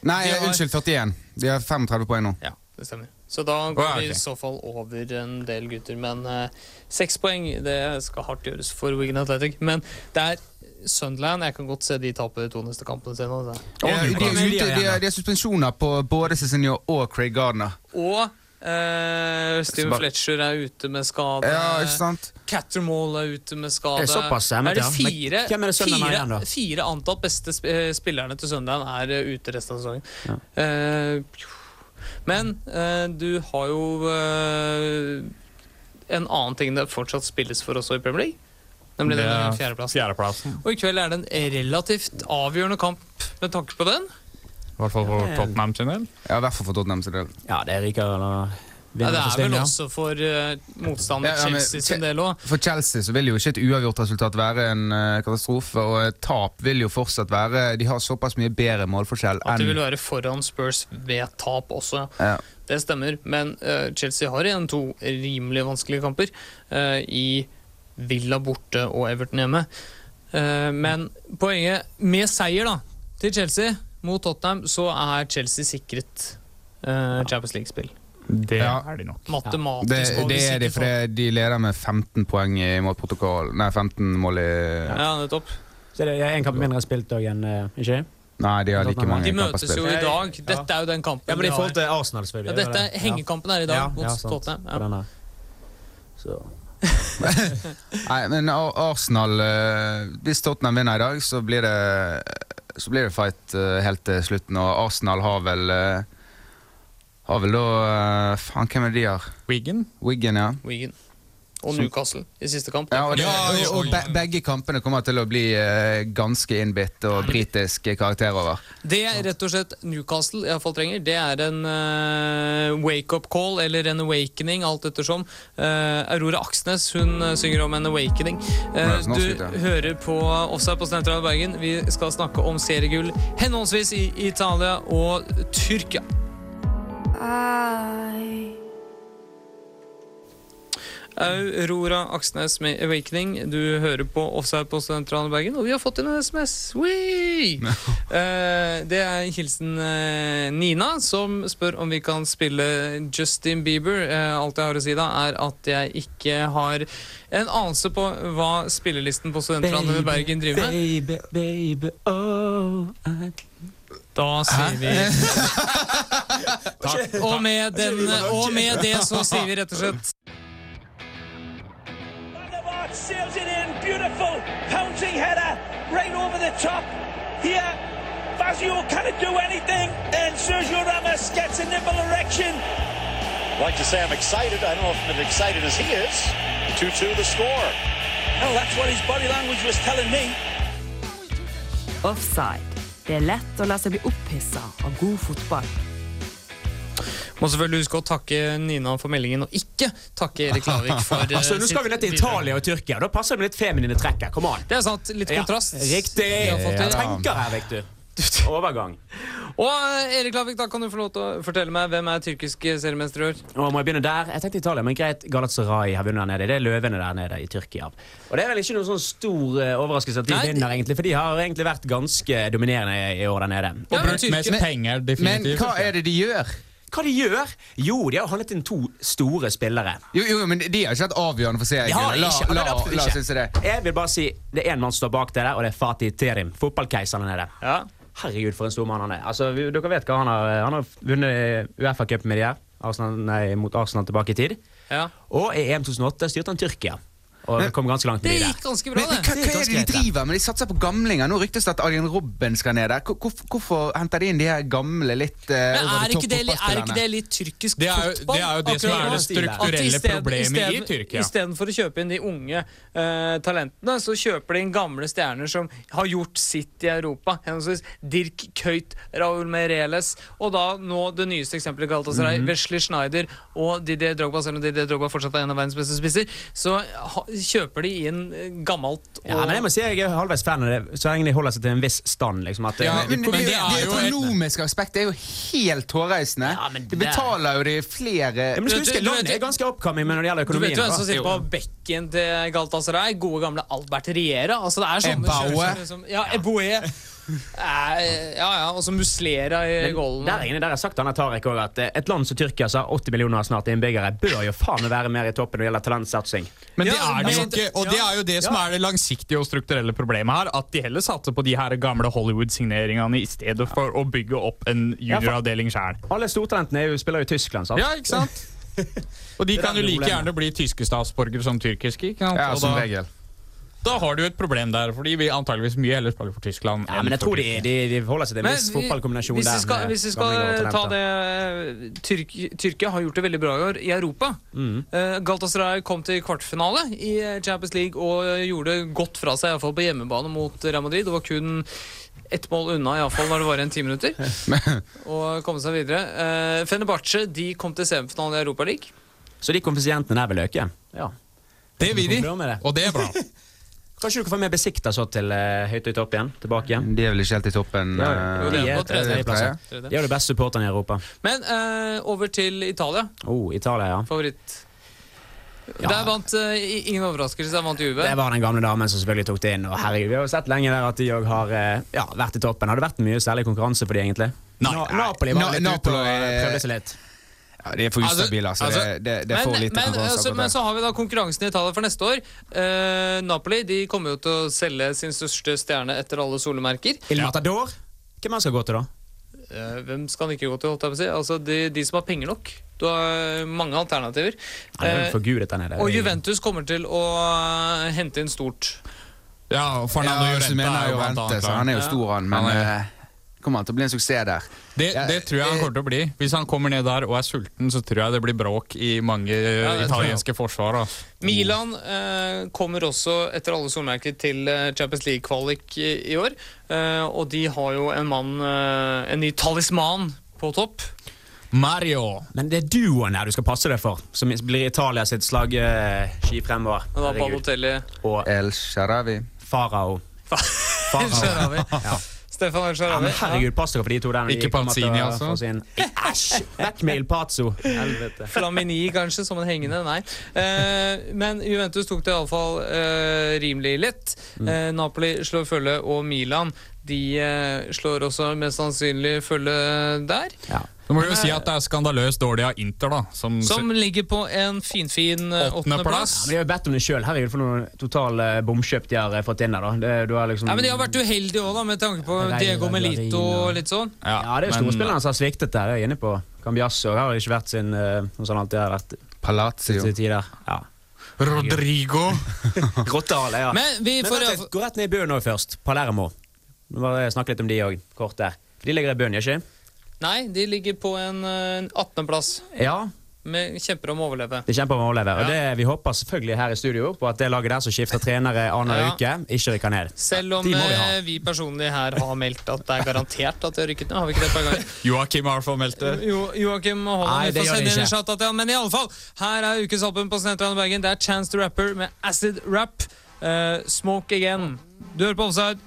S2: Nei,
S1: De har-
S2: unnskyld, 41. De har 35 poeng nå.
S1: Ja, det stemmer. Så da går
S4: Å, ja,
S1: vi i
S4: ok.
S1: så fall over en del gutter. Men eh, seks poeng det skal hardt gjøres for Wigan Athletic. Men det er Sunderland. Jeg kan godt se de tape de to neste kampene sine. altså.
S2: De,
S3: Å,
S2: de,
S3: Gud, Gud,
S2: de, er
S3: Gud,
S2: ute- de,
S3: Gud.
S2: er- de har suspensjoner på både Cezinio og Craig Gardner.
S1: Og eh, Steven
S2: Så bare-
S1: Fletcher er ute med skade.
S2: Ja, ikke sant?
S1: Cattermall er ute med skade.
S3: Det er såpass, ja, men
S1: Er det
S3: ja. Men
S1: fire,
S3: hvem er det Sunderland
S1: fire,
S3: er igjen, da?
S1: fire antatt beste sp eh, spillerne til Sunderland er eh, ute resten av sesongen. Eh, men eh, du har jo eh, en annen ting det fortsatt spilles for også i Premier League. Nemlig
S4: Det
S1: den
S4: er
S1: fjerdeplassen.
S4: Fjerdeplassen.
S1: Og i kveld er det en relativt avgjørende kamp med tanke på den.
S4: I hvert fall for Tottenham sin del.
S2: Ja, i hvert fall for Tottenham sin del.
S3: Ja, det ryker eller
S1: Ja,
S3: vinner
S1: det
S3: for
S1: er vel
S3: Stinga.
S1: også for eh, motstander
S2: Ja, ja, men
S1: Chelsea sin
S2: Che-
S1: del òg.
S2: For Chelsea så vil jo ikke et uavgjort resultat være en eh, katastrofe, og et tap vil jo fortsatt være De har såpass mye bedre målforskjell
S1: At de vil
S2: enn
S1: være foran Spurs ved tap også.
S2: Ja.
S1: Det stemmer, men eh, Chelsea har igjen to rimelig vanskelige kamper eh, i Villa borte og Everton hjemme. Eh, men poenget med seier da, til Chelsea mot Tottenham, så er Chelsea sikret eh, Champions League-spill.
S4: Det
S2: Ja.
S4: er de nok.
S1: Matematisk
S2: det,
S1: var
S2: det er de,
S1: sikret
S2: for det- de leder med 15 poeng i målprotokoll Nei, 15 mål i
S1: for- Ja, nettopp.
S3: Så det er en kamp mindre spilt òg enn eh, Ikke?
S2: Nei, de har like
S3: De
S2: mange
S1: De
S2: kamper
S1: møtes jo i
S2: spilt.
S1: dag. Dette er jo den kampen
S3: Ja, men i
S1: de
S3: forhold
S1: har.
S3: til Arsenal,
S1: Ja,
S3: selvfølgelig.
S1: dette er hengekampen er i dag mot Tottenham. Ja.
S3: Så.
S2: Nei, men Ar- Arsenal eh, Hvis Tottenham vinner i dag, så blir det Så blir det fight eh, helt til slutten, og Arsenal har vel eh, Har vel da eh, Faen, hvem er det de har?
S4: Wigan?
S2: Wiggen, ja.
S1: Wigan. Og Newcastle i siste kamp.
S2: Ja, og, det,
S4: Ja, ja,
S2: og, og be, begge kampene kommer til å bli eh, ganske innbitt og britisk karakter over.
S1: Det er rett og slett Newcastle i alle fall trenger, det er en eh, wake-up call, eller en awakening, alt ettersom. Eh, Aurora Aksnes hun eh, synger om en awakening. Eh,
S2: Nei, så nå
S1: du
S2: slutter jeg.
S1: hører på Offside på Sentra Bergen. Vi skal snakke om seriegull henholdsvis i Italia og Tyrkia. Aurora Aksnes med Awakening. Du hører på Offside på Sentralen Bergen, og vi har fått inn en SMS. Wee! Eh, det er hilsen eh, Nina, som spør om vi kan spille Justin Bieber. Eh, alt jeg har å si da, er at jeg ikke har en anelse på hva spillelisten på Studentlandet ved Bergen driver med.
S3: baby, baby, oh
S1: Da sier vi Takk. Og med, den, og med det så sier vi rett og slett
S10: Vandermark sails it in, beautiful pouncing header right over the top. Here, Fazio can't do anything, and Sergio Ramos gets a nipple erection.
S11: like to say I'm excited. I don't know if I'm as excited as he is. 2-2 the score.
S10: Well, that's what his body language was telling me.
S12: Offside. Det er lett å la seg bli opphissa av god fotball.
S1: Må selvfølgelig huske å takke Nina for meldingen, og ikke takke Erik Lavik for eh,
S3: Altså, Nå skal vi ned til
S1: sitt bidrag.
S3: Italia og Tyrkia. Da passer det med litt feminine trekk her. Kom an.
S1: Det er sant. Litt kontrast.
S3: Ja, riktig.
S1: vi har fått
S3: Jeg
S1: til.
S3: tenker her, vet du. Overgang.
S1: Og eh, Erik Lavik, da kan du få lov til å fortelle meg hvem er tyrkiske seriemester i år?
S3: Nå må jeg begynne der. Jeg tenkte Italia, men greit, Galatasaray har vunnet der nede. Det er løvene der nede i Tyrkia. Og det er vel ikke noen sånn stor eh, overraskelse at de
S1: Nei,
S3: vinner, egentlig, for de har egentlig vært ganske dominerende i år der nede.
S1: Ja, men
S4: Brukt mest
S1: Tyrkia-
S4: penger,
S2: Men
S4: definitivt.
S2: hva er det de gjør?
S3: Hva de gjør? Jo, de har jo handlet inn to store spillere.
S2: Jo, jo, men De har ikke hatt avgjørende for
S3: De har
S2: serien. La,
S3: ikke,
S2: la,
S3: det er absolutt
S2: la oss
S3: ikke.
S2: synes det.
S3: Jeg vil bare si det er én mann som står bak det der, og det er Fatih Terim. Fotballkeiseren er det.
S1: Ja.
S3: Herregud, for en stor mann han er. Altså, vi- dere vet hva Han har Han har vunnet Uefa-cupen med de her. Arsenal, nei, mot Arsenal tilbake i tid.
S1: ja.
S3: Og i EM 2008 styrte han Tyrkia. Og kom ganske langt med
S1: Det
S3: de
S1: gikk
S3: der.
S1: ganske bra,
S2: Men, men hva,
S1: det.
S2: hva er det de driver med? De satser på gamlinger. Nå ryktes det at Adrian Robben skal ned der. Hvor- Hvorfor, hvorfor henter de inn de her gamle, litt eh,
S1: Men
S2: over
S1: er
S2: the
S1: ikke det,
S2: top-fotballspillerne?
S1: er ikke det litt tyrkisk
S4: Det er jo-
S1: fotball?
S4: det er jo det som
S1: akkurat
S4: er
S1: nå?
S4: det strukturelle
S1: At i stedet-
S4: problemet i
S1: stedet-
S4: Tyrkia.
S1: Istedenfor å kjøpe inn de unge eh, talentene, så kjøper de inn gamle stjerner som har gjort sitt i Europa. Henholdsvis Dirk Køyt, Raúl Meireles og da nå det nyeste eksempelet Galatasaray,
S4: Mhm.
S1: Wesley Schneider og Didier Drogba, selv om Didier Drogba fortsatt er en av verdens beste spisser, så ha, kjøper de inn eh, gammelt og
S3: Ja, men jeg må si jeg er halvveis fan av det, så lenge de holder seg til en viss stand. liksom at
S2: Ja, men,
S4: men
S2: det,
S4: det
S2: det,
S4: er jo et-
S2: økonomiske aspektet er jo helt hårreisende.
S3: Ja, men
S2: de
S3: det-
S2: betaler jo de flere
S3: Ja, men du skal
S1: Du-
S3: huske,
S1: du- du vet-
S3: Landet er ganske oppkomming men når det gjelder
S1: Du vet
S3: økonomien. altså.
S1: jo hvem som
S3: da.
S1: sitter på bekken til Galatasaray? Gode gamle Albert Riera. Altså, det er sånne
S2: Eboe.
S1: kjørere som- liksom- Ja, Eboe. Eh, Ja, ja. Og så Muslera i golden.
S3: Der inne, der har sagt Anna Tarek også at eh, et land som Tyrkia, som har 80 millioner snart innbyggere, bør jo faen meg være mer i toppen når det gjelder talentsatsing.
S4: Men det
S1: Ja,
S4: er det jo
S1: men-
S4: ikke, og det er jo det som
S3: Ja.
S4: er det langsiktige og strukturelle problemet her. At de heller satser på de her gamle Hollywood-signeringene i stedet for å bygge opp en junioravdeling sjøl.
S3: Alle stortalentene er jo, spiller jo i Tyskland, sant?
S4: Ja, ikke sant? Og de
S3: Det er
S4: kan jo
S3: det
S4: like
S3: problemet.
S4: gjerne bli tyske statsborgere som tyrkiske. ikke sant?
S2: Ja,
S4: Og
S2: som
S4: da-
S2: regel.
S4: Da har du jo et problem der, for de vil antageligvis mye heller spille for Tyskland.
S3: Ja,
S4: enn
S3: men jeg
S4: for
S3: tror de,
S4: Tyrkia.
S3: de, de forholder seg til en
S1: Men
S3: viss
S1: vi-
S3: fotballkombinasjon
S1: hvis vi
S3: der
S1: skal,
S3: med
S1: hvis vi
S3: gamlinger
S1: skal
S3: og
S1: ta
S3: talenter.
S1: det eh, Tyrk, Tyrkia har gjort det veldig bra i år i Europa.
S3: Mm.
S1: Eh, Galatasaray kom til kvartfinale eh, eh, i Champions League og gjorde godt fra seg, iallfall på hjemmebane mot Real Madrid. Det var kun Ett mål unna, iallfall når det var igjen ti minutter, og komme seg videre. Eh, Fenerbahçe de kom til semifinalen i Europaligaen.
S3: Så de konfisientene der vil øke? Ja.
S1: Det
S3: vil de, og det er bra. Kanskje du kan få med Besikta så til eh, høyt høyt opp igjen? Tilbake igjen?
S2: De er vel ikke helt i toppen?
S3: Ja,
S2: eh,
S3: Mm, jo, de er på
S2: tredje-
S3: tredjeplass.
S2: tredje.
S3: De er de beste supporterne i Europa.
S1: Men eh, over til Italia.
S3: Oh, Italia, ja.
S1: Favoritt. Der vant eh, i- ingen overraskelse, der vant Juve.
S3: Det var den gamle damen som selvfølgelig tok det inn. Og herregud, Vi har jo sett lenge der at de òg har eh, ja, vært i toppen. Har det vært mye særlig konkurranse for de egentlig? Na Napoli var
S2: Na-
S3: litt ute
S2: Napoli
S3: og eh,
S2: er-
S3: prøvde seg litt.
S2: Ja, de er for ustabile, altså.
S1: Altså,
S2: det, det, det er for
S1: men,
S2: lite
S1: men,
S2: konkurranse.
S1: altså,
S2: akkurat
S1: men
S2: der.
S1: så har vi da konkurransen i Italia for neste år. Eh, Napoli de kommer jo til å selge sin største stjerne etter alle solemerker.
S3: Il Matador? Hvem han skal gå til, da?
S1: Eh, hvem skal han ikke gå til, holdt jeg på å si? Altså, de, de som har penger nok. Du har mange alternativer.
S3: Han er
S1: Eh,
S3: vel forgudet der nede.
S1: og Juventus kommer til å eh, hente inn stort.
S4: Ja, Fernando
S2: Ja,
S4: Llorente
S2: så mener
S4: er
S2: jeg
S4: jo blant
S2: Llorente,
S4: annet
S2: så
S4: klar.
S2: han er jo
S4: Ja.
S2: stor, han. Men
S4: Han er-
S2: eh, kommer han til å bli en suksess der?
S4: Det, det tror jeg han kommer til å bli. Hvis han kommer ned der og er sulten, så tror jeg det blir bråk i mange eh,
S1: det tror jeg.
S4: italienske forsvar. da.
S1: Milan eh, kommer også etter alle solmerker til eh, Champions League-kvalik i, i år. Eh, og de har jo en mann, eh, en ny talisman, på topp.
S4: Mario.
S3: Men det er duoen her du skal passe deg for, som blir Italia sitt slagski fremover.
S1: Men da på
S3: Herregud.
S1: hotellet
S3: Og eh,
S2: El Sharawi.
S3: Farao.
S1: Sharawi.
S3: Ja.
S1: Stefan El
S3: Ja,
S1: Sharawi.
S3: men herregud, pass dere for de to der. når de
S4: Ikke
S3: kommer til å
S4: Panzini, altså?
S3: få sin- Æsj! Vekk med Il Pazzo. Helvete.
S1: Flamini, kanskje, som en hengende. Nei. Eh, men Juventus tok det iallfall eh, rimelig lett.
S3: Mm.
S1: Eh, Napoli slår følge, og Milan de eh, slår også mest sannsynlig følge der.
S4: Så må vi jo si at det er skandaløst dårlig av Inter, da. Som,
S1: Som ligger på en finfin eh, åttendeplass.
S3: Ja, men de har jo bedt om det sjøl. Herregud, for noen total eh, bomkjøp de har eh, fått inn der. da. Det, du har liksom...
S1: Nei, men De har vært uheldige òg, med tanke på
S3: Reina,
S1: Diego Melito
S3: Guarino.
S1: og litt sånn.
S3: ja, det er jo
S4: men-
S3: storspillerne som har sviktet der. Det er jeg inne på. Cambiasso har jo ikke vært sin eh, Noe sånn alltid har vært
S2: Palazzo.
S3: siste tider. Ja.
S4: Rodrigo.
S3: Grottehale, ja.
S1: Men vi
S3: Men
S1: får
S3: vent litt, gå rett ned i bunnen nå først. Palermo. Vi må bare snakke litt om de òg, kort der. For de ligger i bunnen, gjør ikke
S1: Nei, de ligger på en eh, 18.-plass.
S3: Ja.
S1: med- Kjemper om å overleve.
S3: De kjemper om å overleve. Og det, vi håper selvfølgelig her i studio på at det laget der som skifter trenere annenhver
S1: Ja.
S3: uke, ikke rykker ned.
S1: Selv om
S3: De må vi ha.
S1: eh, vi personlig her har meldt at det er garantert at de har rykket ned. Har vi ikke det et par ganger?
S4: Joakim Arfo meldte.
S1: Jo, Joakim
S3: Nei,
S1: Holland
S3: det
S1: vi får
S3: gjør
S1: sende
S3: det
S1: inn en
S3: ikke.
S1: shout til han. Men i alle fall, her er ukens album på Sentralen Bergen. Det er Chance to Rapper med Acid Rap. eh, smoke Again. Du hører på Offside.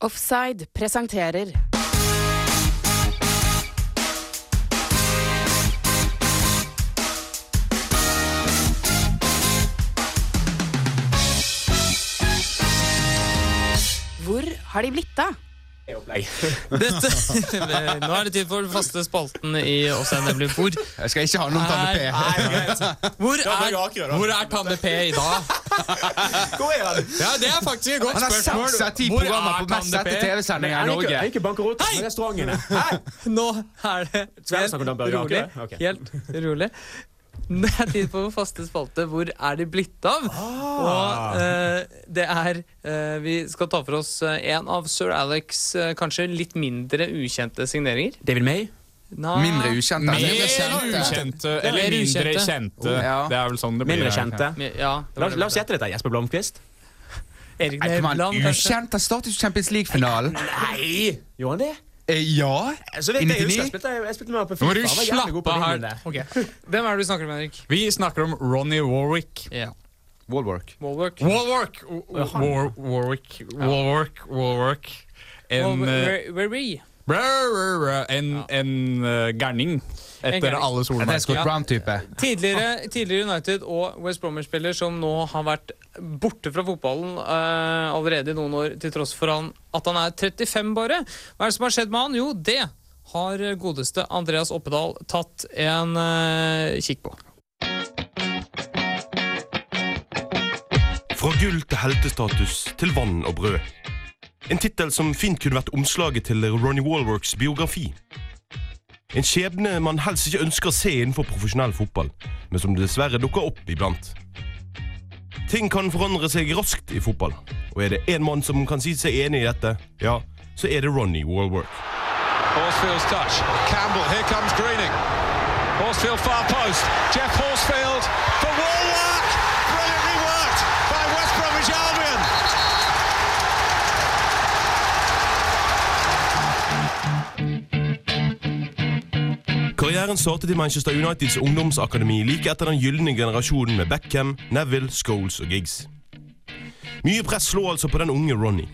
S6: Offside presenterer Hvor har de blitt av?
S1: Dette, nå er det tid for den faste spalten i Offside, nemlig Hvor
S2: Jeg skal ikke ha noe om Tanne P.
S1: Hvor er,
S4: Hvor er Tande P i dag? Ja, Det er faktisk et godt
S2: Han har
S4: spørsmål.
S2: seks av ti
S4: Hvor er
S2: programmer på mest
S4: Tande P?
S2: sette TV-sendinger i Norge.
S3: ikke bankerot, men restaurantene.
S1: Nå er det
S3: Skal jeg snakke om Dan Børge
S1: rolig.
S3: Akerø? Ok.
S1: Helt rolig. Det er tid for vår faste spalte Hvor er de blitt av?
S3: Ah.
S1: Og eh, det er eh, Vi skal ta for oss eh, en av sir Alex' eh, kanskje litt mindre ukjente signeringer.
S3: David May?
S1: Nei.
S2: Ah. Mindre Altså, ukjente.
S4: Mer ukjente, eller
S1: Mer
S4: mindre
S1: ukjente.
S4: kjente.
S2: Ja.
S4: Det er vel sånn det blir.
S3: Mindre
S4: her.
S3: kjente?
S1: Mi- Ja, det var
S3: La,
S1: det.
S3: la oss gjette dette. Jesper Blomkvist?
S1: Erik
S2: Nei, kom an,
S1: Nevland, kanskje.
S2: ukjent! Han startet jo Champions League-finalen.
S3: Nei! Gjorde han det?
S2: Eh, ja.
S3: Så vidt
S2: I
S3: jeg husker, jeg
S2: 99.
S3: spilte, jeg spilte med ham på
S4: Nå må
S3: FIFA.
S4: du
S3: Han var jævlig god
S4: slappe
S3: på
S4: av
S3: linjen
S4: her.
S3: der.
S1: Hvem er det vi snakker om, Henrik?
S4: Vi snakker om Ronny Warwick.
S1: Ja.
S2: Wallwork.
S1: Wallwork.
S4: Warwick! War, Warwick. Warwick. Warwick. En, eh,
S1: Wallwork- Warwick.
S4: brr, brr, brr, en, en eh, gærning
S1: En
S4: etter
S1: gærning.
S4: alle
S2: Ja, det er
S4: solmerker.
S2: Scott Brown-type.
S1: Tidligere, tidligere United og West Bromwich-spiller som nå har vært borte fra fotballen eh, allerede i noen år, til tross for han, at han er 35 bare. Hva er det som har skjedd med han? Jo, det har godeste Andreas Oppedal tatt en eh, kikk på.
S13: Fra gull til heltestatus til vann og brød. En tittel som fint kunne vært omslaget til Ronny Wallworks biografi. En skjebne man helst ikke ønsker å se innenfor profesjonell fotball, men som dessverre dukker opp iblant. Ting kan forandre seg raskt i fotball, og er det én mann som kan si seg enig i dette, ja, så er det Ronny Wallwork.
S5: Horsfield's touch. Campbell, here comes Greening.
S14: Horsfield far post. Jeff Horsfield for Warlock. Brilliantly worked by West Bromwich Albion.
S13: Karrieren startet i Manchester Uniteds ungdomsakademi like etter den gylne generasjonen med Beckham, Neville, Scholes og Giggs. Mye press lå altså på den unge Ronny,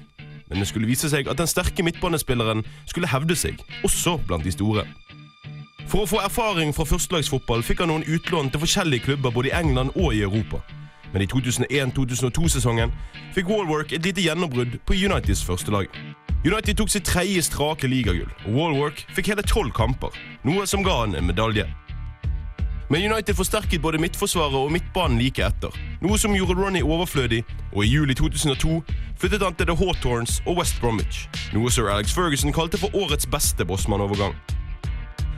S13: men det skulle vise seg at den sterke midtbanespilleren skulle hevde seg, også blant de store. For å få erfaring fra førstelagsfotball fikk han noen utlån til forskjellige klubber både i England og i Europa. Men i 2001-2002-sesongen fikk Wallwork et lite gjennombrudd på Uniteds førstelag. United tok sitt tredje strake ligagull, og Wallwork fikk hele tolv kamper, noe som ga han en medalje. Men United forsterket både midtforsvaret og midtbanen like etter, noe som gjorde Ronny overflødig, og i juli 2002 flyttet han til The Hawthorns og West Bromwich, noe sir Alex Ferguson kalte for årets beste bossmannovergang.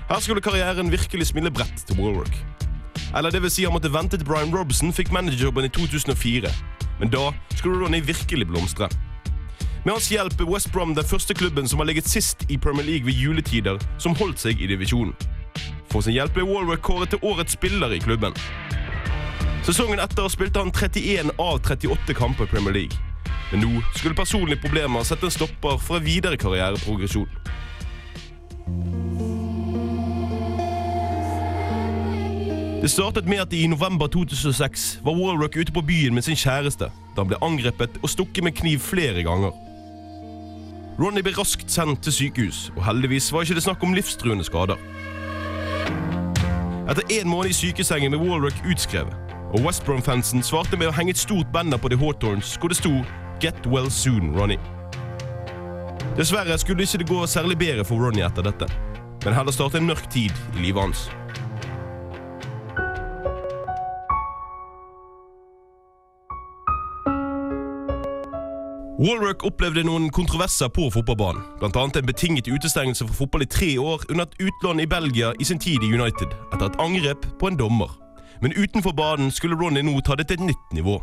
S13: Her skulle karrieren virkelig smille bredt til Warwick. Eller det vil si han måtte vente til Brian Robson fikk managerjobben i 2004. Men da skulle Ronny virkelig blomstre. Med hans hjelp er West Brom den første klubben som har ligget sist i Premier League ved juletider, som holdt seg i divisjonen. For sin hjelp ble Warwick kåret til årets spiller i klubben. Sesongen etter spilte han 31 av 38 kamper i Premier League. Men nå skulle personlige problemer sette en stopper for en videre karriereprogresjon. Det startet med at i november 2006 var Warwick ute på byen med sin kjæreste, da han ble angrepet og stukket med kniv flere ganger. Ronny ble raskt sendt til sykehus, og heldigvis var ikke det snakk om livstruende skader. Etter én måned i sykesengen ble Warwick utskrevet, og West Brom-fansen svarte med å henge et stort banner på The Hawthorns hvor det sto 'Get well soon, Ronny'. Dessverre skulle ikke det gå særlig bedre for Ronny etter dette, men heller starte en mørk tid i livet hans. Walrock opplevde noen kontroverser på fotballbanen, bl.a. en betinget utestengelse fra fotball i tre år under et utlån i Belgia i sin tid i United, etter et angrep på en dommer. Men utenfor banen skulle Ronny nå ta det til et nytt nivå.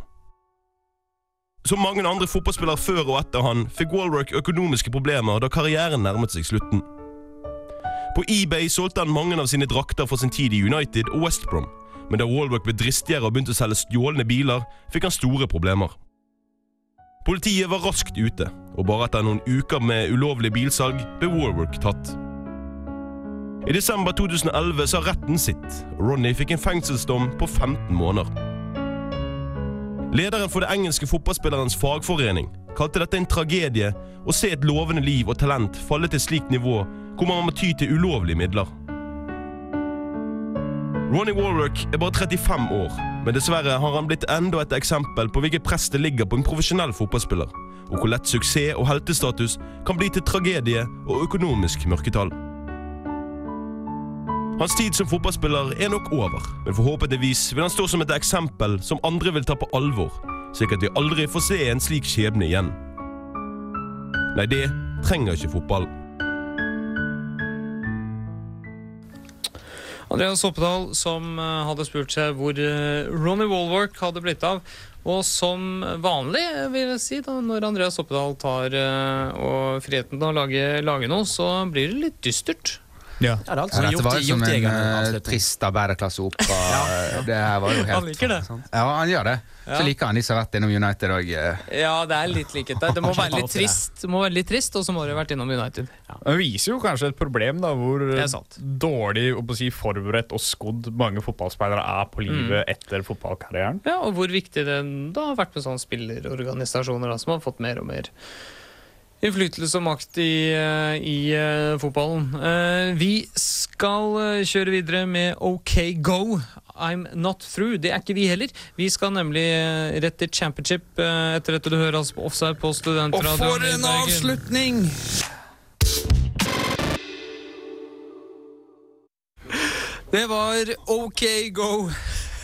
S13: Som mange andre fotballspillere før og etter han, fikk Walrock økonomiske problemer da karrieren nærmet seg slutten. På eBay solgte han mange av sine drakter fra sin tid i United og West Brom, men da Walrock ble dristigere og begynte å selge stjålne biler, fikk han store problemer. Politiet var raskt ute, og bare etter noen uker med ulovlig bilsalg ble Warwick tatt. I desember 2011 sa retten sitt, og Ronny fikk en fengselsdom på 15 måneder. Lederen for det engelske fotballspillerens fagforening kalte dette en tragedie å se et lovende liv og talent falle til et slikt nivå hvor man må ty til ulovlige midler. Ronny Warwick er bare 35 år, men dessverre har han blitt enda et eksempel på hvilket press det ligger på en profesjonell fotballspiller, og hvor lett suksess og heltestatus kan bli til tragedie og økonomisk mørketall. Hans tid som fotballspiller er nok over, men forhåpentligvis vil han stå som et eksempel som andre vil ta på alvor, slik at vi aldri får se en slik skjebne igjen. Nei, det trenger ikke fotballen.
S1: Andreas Oppedal som eh, hadde spurt seg hvor eh, Ronny Wallwork hadde blitt av. Og som vanlig, eh, vil jeg si, da, når Andreas Oppedal tar eh, og friheten til å lage, lage noe, så blir det litt dystert.
S4: Ja.
S1: det er
S2: Ja, dette var jo som en eh, trist arbeiderklasseopera. Det her var jo helt
S1: Han liker det.
S2: Ja, han gjør det. Så
S1: Ja.
S2: liker han de som har vært innom United eh, òg.
S1: Ja, det er litt likhet der. Det må være litt trist, Det må være litt trist og så må det ha vært innom United.
S4: Det viser jo kanskje et problem, da, hvor eh,
S1: Det er
S4: dårlig å si, forberedt og skodd mange fotballspillere er på livet etter fotballkarrieren.
S1: Ja, Og hvor viktig det da har vært med sånne spillerorganisasjoner da, som har fått mer og mer innflytelse og makt i, eh, i eh, fotballen. Eh, Vi skal eh, kjøre videre med OK Go. I'm not through. Det er ikke vi heller. Vi skal nemlig eh, rett til championship eh, etter dette du hører oss på offside på studentradioen. i Bergen.
S2: avslutning!
S1: Det var OK Go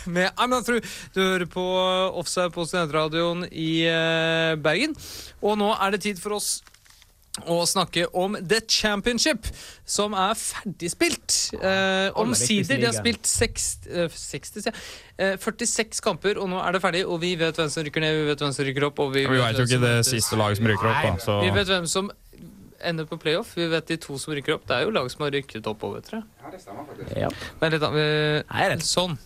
S1: med I'm Not Through. Du hører på Offside på Studentradioen i eh, Bergen. Og nå er det tid for oss å snakke om The Championship, som er ferdigspilt. Eh, Omsider. De har spilt seks, eh, 60, sier jeg. eh, 46 kamper, og nå er det ferdig. Og vi vet hvem som rykker ned, vi vet hvem som rykker opp. Og vi,
S4: Vi veit jo
S1: hvem
S4: ikke
S1: som
S4: det
S1: møtes.
S4: siste laget som ryker opp, da.
S1: Vi
S4: Så.
S1: vet hvem som ender på playoff. Vi vet de to som rykker opp. Det er jo lag som har rykket opp over, tror jeg.
S2: Ja, det stemmer faktisk.
S1: Ja. Men litt, uh, Nei, det sånn.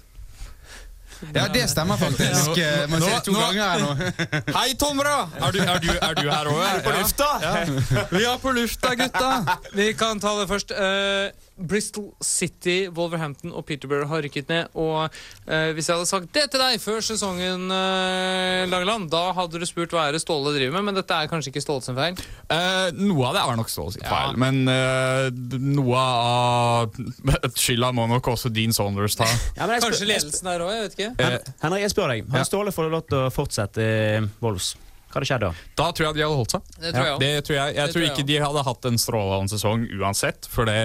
S2: Ja, det stemmer faktisk. Eh,
S1: Ja.
S2: Må se
S1: Nå-
S2: to
S1: nå-
S2: ganger her nå.
S1: Hei, Tomra!
S4: Er du, er du, er du her òg?
S1: Er du på lufta? Vi er på lufta, gutta! Vi kan ta det først. Eh, Bristol City, Wolverhampton og Peterborough har rykket ned. Og eh, hvis jeg hadde sagt det til deg før sesongen, eh, Langeland, da hadde du spurt hva er det Ståle driver med, men dette er kanskje ikke Ståle sin feil.
S4: Eh, noe av det er nok Ståle sitt feil, men eh, d- noe av skylda må nok også Dean Saunders ta.
S1: kanskje ledelsen der òg, jeg vet ikke.
S4: Eh,
S3: Henrik, jeg spør deg. Har Ståle fått lov til å fortsette i Wolves? Hva hadde skjedd da?
S4: Da tror jeg de hadde holdt seg.
S1: Det tror jeg også.
S4: det tror jeg. jeg
S1: Det
S4: tror
S1: tror jeg
S4: ikke de hadde hatt en strålende sesong uansett. For det,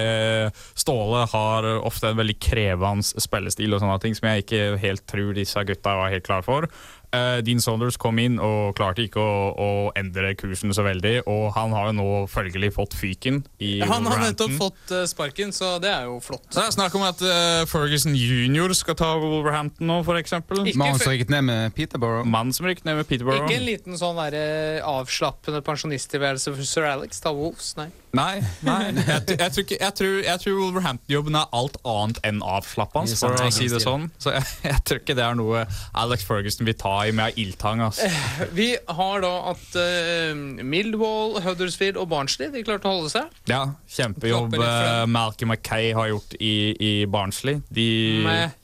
S4: Ståle har ofte en veldig krevende spillestil og sånne ting som jeg ikke helt tror disse gutta var helt klare for. Eh, Dean Saunders kom inn og klarte ikke å, å endre kursen så veldig. Og han har jo nå følgelig fått fyken i
S1: Han har
S4: Wolverhampton.
S1: nettopp fått eh, sparken, så det er jo flott.
S4: Så det er snakk om at eh, Ferguson jr. skal ta Wolverhampton nå, f.eks.
S1: Ikke Mannen som fe-
S4: rykket
S2: ned med Peterborough.
S4: Mannen som rykket ned med Peterborough.
S1: Ikke en liten sånn der, eh, avslappende pensjonisttilværelse for sir Alex. Ta Wolves, nei.
S4: Nei, nei. Jeg, t- jeg, tror ikke, jeg, tror, jeg tror Wolverhampton-jobben er alt annet enn avslappende,
S3: Det er
S4: for
S3: sant,
S4: å
S3: det er
S4: si det
S3: sant.
S4: sånn. Så jeg, jeg tror ikke det er noe Alex Ferguson vil ta i med ildtang. altså. ass.
S1: Vi har da at eh, Millwall, Huddersfield og Barnsley de klarte å holde seg.
S4: Ja, Kjempejobb
S1: Klapper rett
S4: eh,
S1: frem.
S4: Malcolm Mackay har gjort i, i Barnsley. De
S1: Med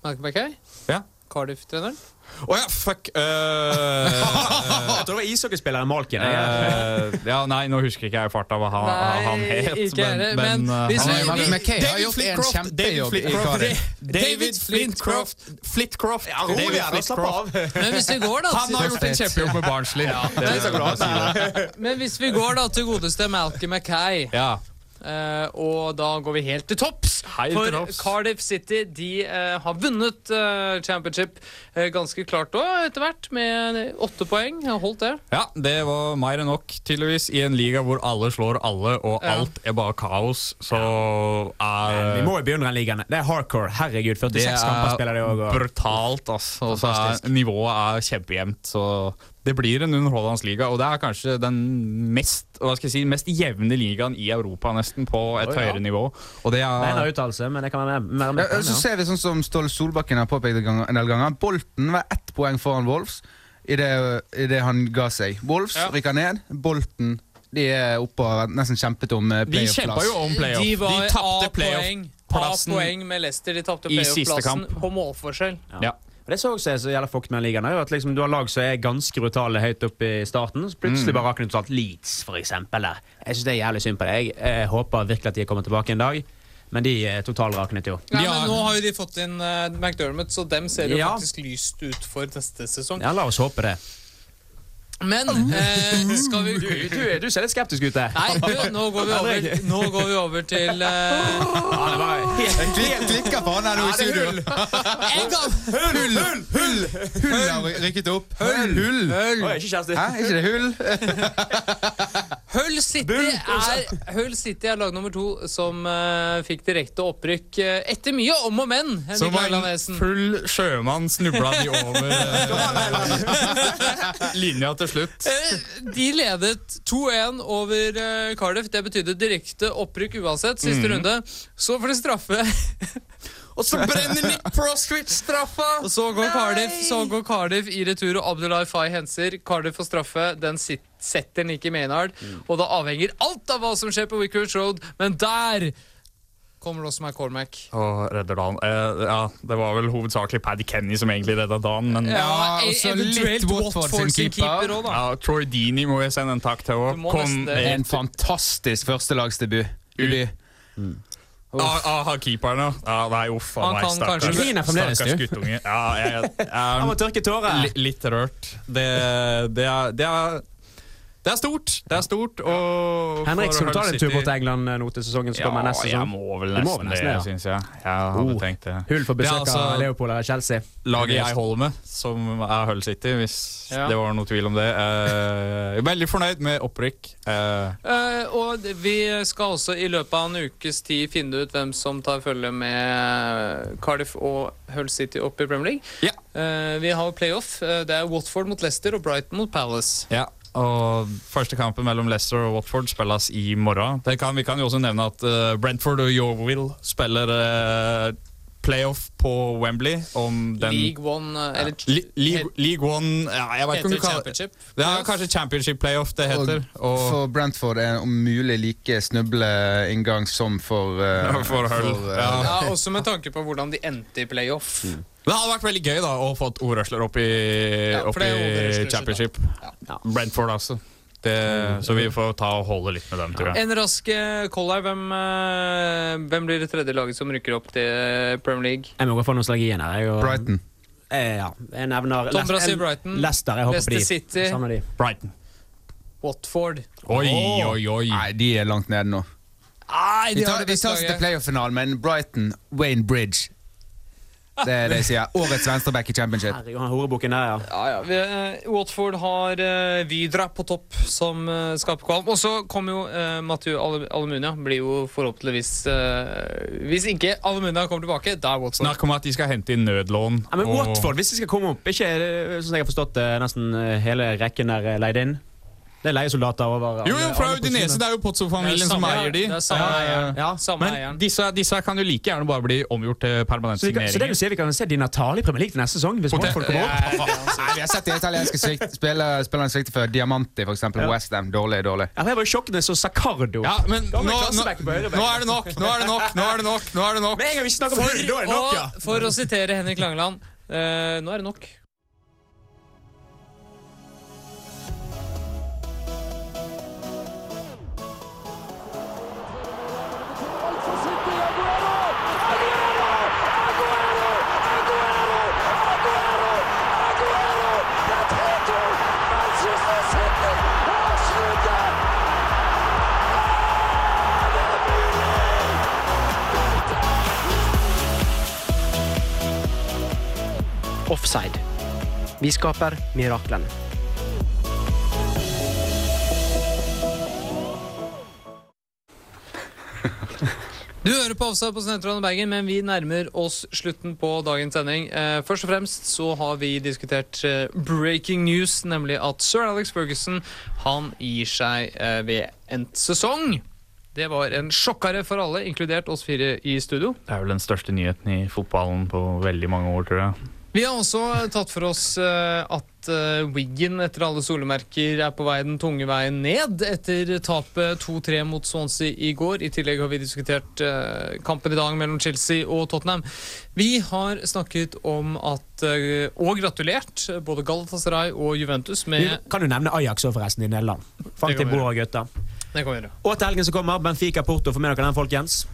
S1: Malcolm Mackay,
S4: Ja.
S1: Cardiff-treneren.
S4: Å ja, fuck! eh, eh,
S3: Jeg tror det var ishockeyspilleren Malkin.
S4: eh, ja, nei, nå husker ikke jeg i farta hva han,
S1: Nei,
S4: han het.
S1: ikke jeg heller, men
S4: eh,
S1: hvis
S4: han
S1: vi-
S4: var-
S1: vi-
S4: Malcolm Mackay har
S1: David
S4: gjort en
S1: Flitcroft,
S4: kjempejobb
S1: David
S4: i
S1: Flitcroft.
S4: Cardiff.
S1: David Flitcroft.
S4: Flitcroft.
S1: Ja, rolig, altså.
S4: David
S1: da, slapp
S4: Flitcroft.
S1: av. Men hvis vi går, da,
S4: Han
S1: til-
S4: har gjort en kjempejobb med Barnsley. Ja, det er bra å si det.
S1: Men hvis vi går da til godeste Malcolm Mackay
S4: Ja.
S1: eh, og da går vi helt til topps.
S4: Helt
S1: For
S4: til topps.
S1: Cardiff City de eh, har vunnet eh, championship eh, ganske klart òg, etter hvert, med åtte poeng. Jeg har holdt det.
S4: Ja, det var mer enn nok, tydeligvis, i en liga hvor alle slår alle, og
S1: Ja.
S4: alt er bare kaos, så er
S3: Vi må jo begynne den ligaen. Det er hardcore. Herregud, 46
S4: Eh, Det
S3: kamper spiller de
S4: er
S3: òg.
S4: brutalt, altså. Og så er,
S3: Fantastisk.
S4: nivået er kjempejevnt. Så det blir en underholdende liga, og det er kanskje den mest, hva skal jeg si, mest jevne ligaen i Europa, nesten, på et
S3: Å, ja.
S4: høyere nivå. Og det
S3: Det er en
S4: er
S3: uttalelse, men jeg kan være med. Være
S2: Ja,
S3: med på den,
S2: så
S3: ja.
S2: ser vi sånn som Ståle Solbakken har påpekt en gang- en del ganger. Bolten var ett poeng foran Wolves i det, i det han ga seg. Wolves rykker ned. Bolten de er oppe og nesten kjempet om eh,
S4: De kjempa
S2: playoff-plass.
S4: jo om playoff.
S1: De var
S4: tapte
S1: A-poeng
S4: playoff-plassen
S1: A-poeng med Leicester. De tapte
S4: i siste kamp.
S1: playoff-plassen på målforskjell.
S4: Ja.
S3: Og Det som også er så jævla fucked med den ligaen, er jo at liksom, du har lag som er ganske brutale høyt opp i starten. Så plutselig
S4: Mm.
S3: bare rakner totalt Leeds, for eksempel. Der. Jeg syns det er jævlig synd på det. Jeg, eh, håper virkelig at de kommer tilbake en dag, men de er totalraknet jo.
S1: Nei, men Nå har jo de fått inn eh, McDermott, så dem ser jo
S3: Ja.
S1: faktisk lyst ut for neste sesong.
S3: Ja, la oss håpe det.
S1: Men eh, skal vi
S3: Du, du, du ser litt skeptisk ut der.
S1: Nei, du, nå går vi over, nå går vi over til eh,
S2: Jeg klikker på han her nå i studio.
S1: en gang.
S2: Hull, hull, hull! Hull har rykket opp. Hull, hull.
S3: Oi, ikke kjæreste.
S2: Hæ, ikke det hull?
S1: Hull City er, Hull City er lag nummer to som eh, fikk direkte opprykk eh, etter mye om og men. Henrik
S4: Som
S1: Langeland
S4: en
S1: Esen.
S4: full sjømann snubla de over eh, linja til slutt.
S1: Eh, De ledet 2-1 over eh, Cardiff. Det betydde direkte opprykk uansett. Siste
S4: Mhm.
S1: runde. Så får de straffe. Og så brenner Nick Prostwich straffa! Og så går, Cardiff, så går Cardiff i retur, og Abdullah Fay henser. Cardiff får straffe. Den sit setter Nikki Maynard. Og da avhenger alt av hva som skjer på Wickhurst Road, men der kommer det også med Cormac.
S4: Og redder dagen. Eh, ja, det var vel hovedsakelig Paddy Kenny som egentlig redda dagen, men
S1: Ja,
S2: og så
S1: eventuelt
S2: litt Watford sin
S1: Watford sin
S2: keeper.
S1: keeper også, da.
S4: Ja, Troy Deeney må jeg sende en takk til òg.
S1: må
S4: Kom
S1: nesten-
S4: eh,
S2: En fantastisk førstelagsdebut. Debut.
S4: Ah, ah, keeperne. Ja, nei, uff a
S1: Han
S4: meg.
S1: kan
S4: stakkars-
S1: kanskje-
S3: Griner fremdeles,
S4: stakkars
S3: du.
S4: guttunge. Ja, jeg, jeg, er
S3: Han må tørke tårer.
S4: li- litt rørt. Det, det, er, det, er, det er stort. Det er stort, og
S3: Henrik,
S4: for
S3: skal du ta
S4: Hull
S3: deg en tur
S4: City-
S3: bort til England eh, nå til sesongen som
S4: Ja,
S3: kommer neste sesong?
S4: jeg må vel
S3: Du
S4: nesten, det,
S3: ja.
S4: syns jeg. Jeg hadde
S3: Oh.
S4: tenkt det.
S3: Hull får
S4: Det er
S3: besøk av
S4: altså-
S3: Leopold eller Chelsea.
S4: laget jeg holder med, som er Hull City, hvis
S1: Ja.
S4: det var noe tvil om det. Eh, jeg er veldig fornøyd med opprykk. Eh,
S1: Eh, og d- vi skal også i løpet av en ukes tid finne ut hvem som tar følge med Cardiff og Hull City opp i Premier League.
S4: Ja.
S1: Eh, vi har playoff. Eh, det er Watford mot Leicester og Brighton mot Palace.
S4: ja. Og første kampen mellom Leicester og Watford spilles i morgen. Det kan, vi kan jo også nevne at eh, Brentford og Yorwill spiller eh, playoff på Wembley om den
S1: League One eh, eller
S4: Le League, League One ja, jeg vet ikke om du kaller-
S1: Heter det Championship?
S4: Det er kanskje Championship Playoff det heter.
S2: Og for Brentford er det om mulig like snubleingang som for eh,
S4: Ja, for Hull,
S2: eh,
S4: ja.
S1: ja, Også med tanke på hvordan de endte i playoff.
S4: Det hadde vært veldig gøy da å få et ordrøsler opp i,
S1: Ja,
S4: opp
S1: for det er jo
S4: i
S1: ordrøsler,
S4: Championship. Brentford, altså. Det,
S1: Mm.
S4: så vi får ta og holde litt med dem, tror jeg.
S1: En rask eh, call her. Hvem, eh, hvem blir det tredje laget som rykker opp til eh, Premier League?
S3: Jeg må gå for nostalgien her. Jeg, og,
S2: Brighton.
S3: Eh, ja, jeg nevner
S1: Tom Brasil
S3: jeg-
S1: Brighton.
S3: Leicester. Jeg håper
S1: Leicester
S3: de.
S1: City.
S3: Savner de.
S4: Brighton.
S1: Watford.
S4: oi.
S2: Nei, de er langt nede nå.
S1: Nei,
S2: Vi tar, vi tar oss til playoff-finalen, men Brighton, Wayne Bridge. Det er det jeg sier. Årets venstreback i championship.
S3: Herregud, han horebukken der, ja.
S1: Ja, ja. Vi, eh, Watford har eh, Vidra på topp, som eh, skaper kvalm. Og så kommer jo eh, Mathieu Al- Almunia. Blir jo forhåpentligvis eh, Hvis ikke Almunia kommer tilbake, da er Watford
S4: Snakk om at de skal hente inn nødlån.
S3: Ja, men
S4: og-
S3: Watford, hvis de skal komme opp, ikke eh, sånn som jeg har forstått det, nesten eh, hele rekken er eh, leid inn? Det er leiesoldater over
S4: Jo, jo,
S3: alle-
S4: fra
S3: alle
S4: Udinese.
S3: posisjoner.
S4: Det er jo
S1: Det er
S4: Pozzo-familien som
S1: samme-
S4: eier de.
S1: det er samme eieren.
S4: Ja.
S1: Samme eieren.
S4: Men disse, disse her kan jo like gjerne bare bli omgjort til permanent
S3: Så, vi kan, så det liksom-
S4: signering.
S3: du sier, vi kan se Di Natale i Premier League til neste sesong? Hvis
S4: Potent-
S3: Watford kommer opp?
S2: Nei, vi har sett de italienske svikt- spille- spillerne svikte før. Diamanti, for eksempel.
S3: Ja.
S2: Westham. Dårlig, dårlig.
S3: Ja, jeg var i sjokk da jeg så Sacardo.
S4: Ja, men nå, nå, nå er det nok! Nå er det nok! Nå er det nok! Nå er det nok.
S3: Med en gang vi snakker om Hull, da
S1: For,
S3: er det nok, ja!
S1: og, for å sitere Henrik Langeland eh, Nå er det nok.
S15: Offside. Vi skaper miraklene.
S1: Du hører på Offside på Sentralen i Bergen, men vi nærmer oss slutten på dagens sending. Eh, først og fremst så har vi diskutert eh, breaking news, nemlig at sir Alex Ferguson han gir seg eh, ved endt sesong. Det var en sjokkare for alle, inkludert oss fire i studio.
S4: Det er vel den største nyheten i fotballen på veldig mange år, tror jeg.
S1: Vi har også tatt for oss eh, at eh, Wiggen etter alle solemerker er på vei den tunge veien ned etter tapet 2-3 mot Swansea i går. I tillegg har vi diskutert eh, kampen i dag mellom Chelsea og Tottenham. Vi har snakket om at eh, og gratulert både Galatasaray og Juventus
S3: Vi
S1: med
S3: kan jo nevne Ajax òg, forresten, i Nederland. Fram
S1: Det
S3: til
S1: kan vi
S3: Boa, gutta.
S1: Det kan vi gjøre.
S3: Og til helgen som kommer, Benfica Porto. Få med dere den, folkens.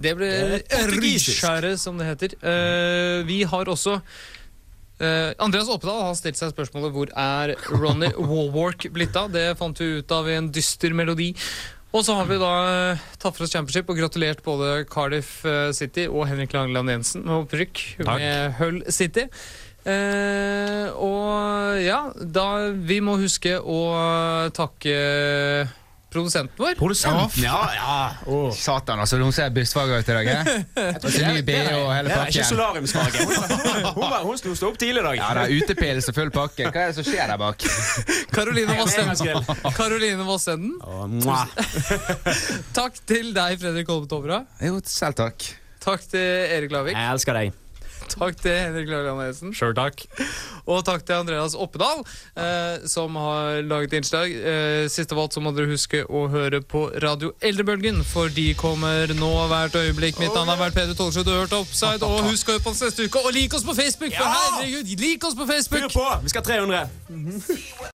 S1: Det blir
S3: Det er portugisisk.
S1: rysjære, som det heter. Eh, vi har også eh, Andreas Oppedal har stilt seg spørsmålet hvor er Ronny Walwark blitt av. Det fant vi ut av i en dyster melodi. Og så har vi da eh, tatt for oss championship og gratulert både Cardiff eh, City og Henrik Langeland Jensen med opprykk
S4: Takk.
S1: med Hull City. Eh, og ja, da Vi må huske å takke produsenten vår.
S2: Produsenten,
S3: ja,
S2: Satan, altså. Hun ser bussfarga ut i dag. eh? Og så ny BH og
S3: Det
S2: hele
S3: er ikke
S2: pakken.
S3: solariumsfarge. Hun, hun, var- hun sto- sto opp tidlig i dag.
S2: Ja, det er utepils og full pakke. Hva er det som skjer der bak?
S1: Karoline Vassenden.
S3: Engangskveld.
S1: Karoline Vassenden.
S3: Å, mwah.
S1: Takk til deg, Fredrik Holme Tovra.
S2: Jo, selv takk.
S1: Takk til Erik Lavik.
S3: Jeg elsker deg.
S1: Takk til Henrik Lageland Jensen.
S4: Sjøl takk.
S1: Og takk til Andreas Oppedal, eh, som har laget innslag. Eh, sist av alt så må dere huske å høre på Radio Eldrebølgen, for de kommer nå hvert øyeblikk. Mitt navn har vært Peder Tollsrud, du har hørt Upside, og husk å høre på oss neste uke. Og lik oss på Facebook! For
S3: Ja!
S1: herregud, lik oss på Facebook!
S3: Fyr på! Vi skal ha 300.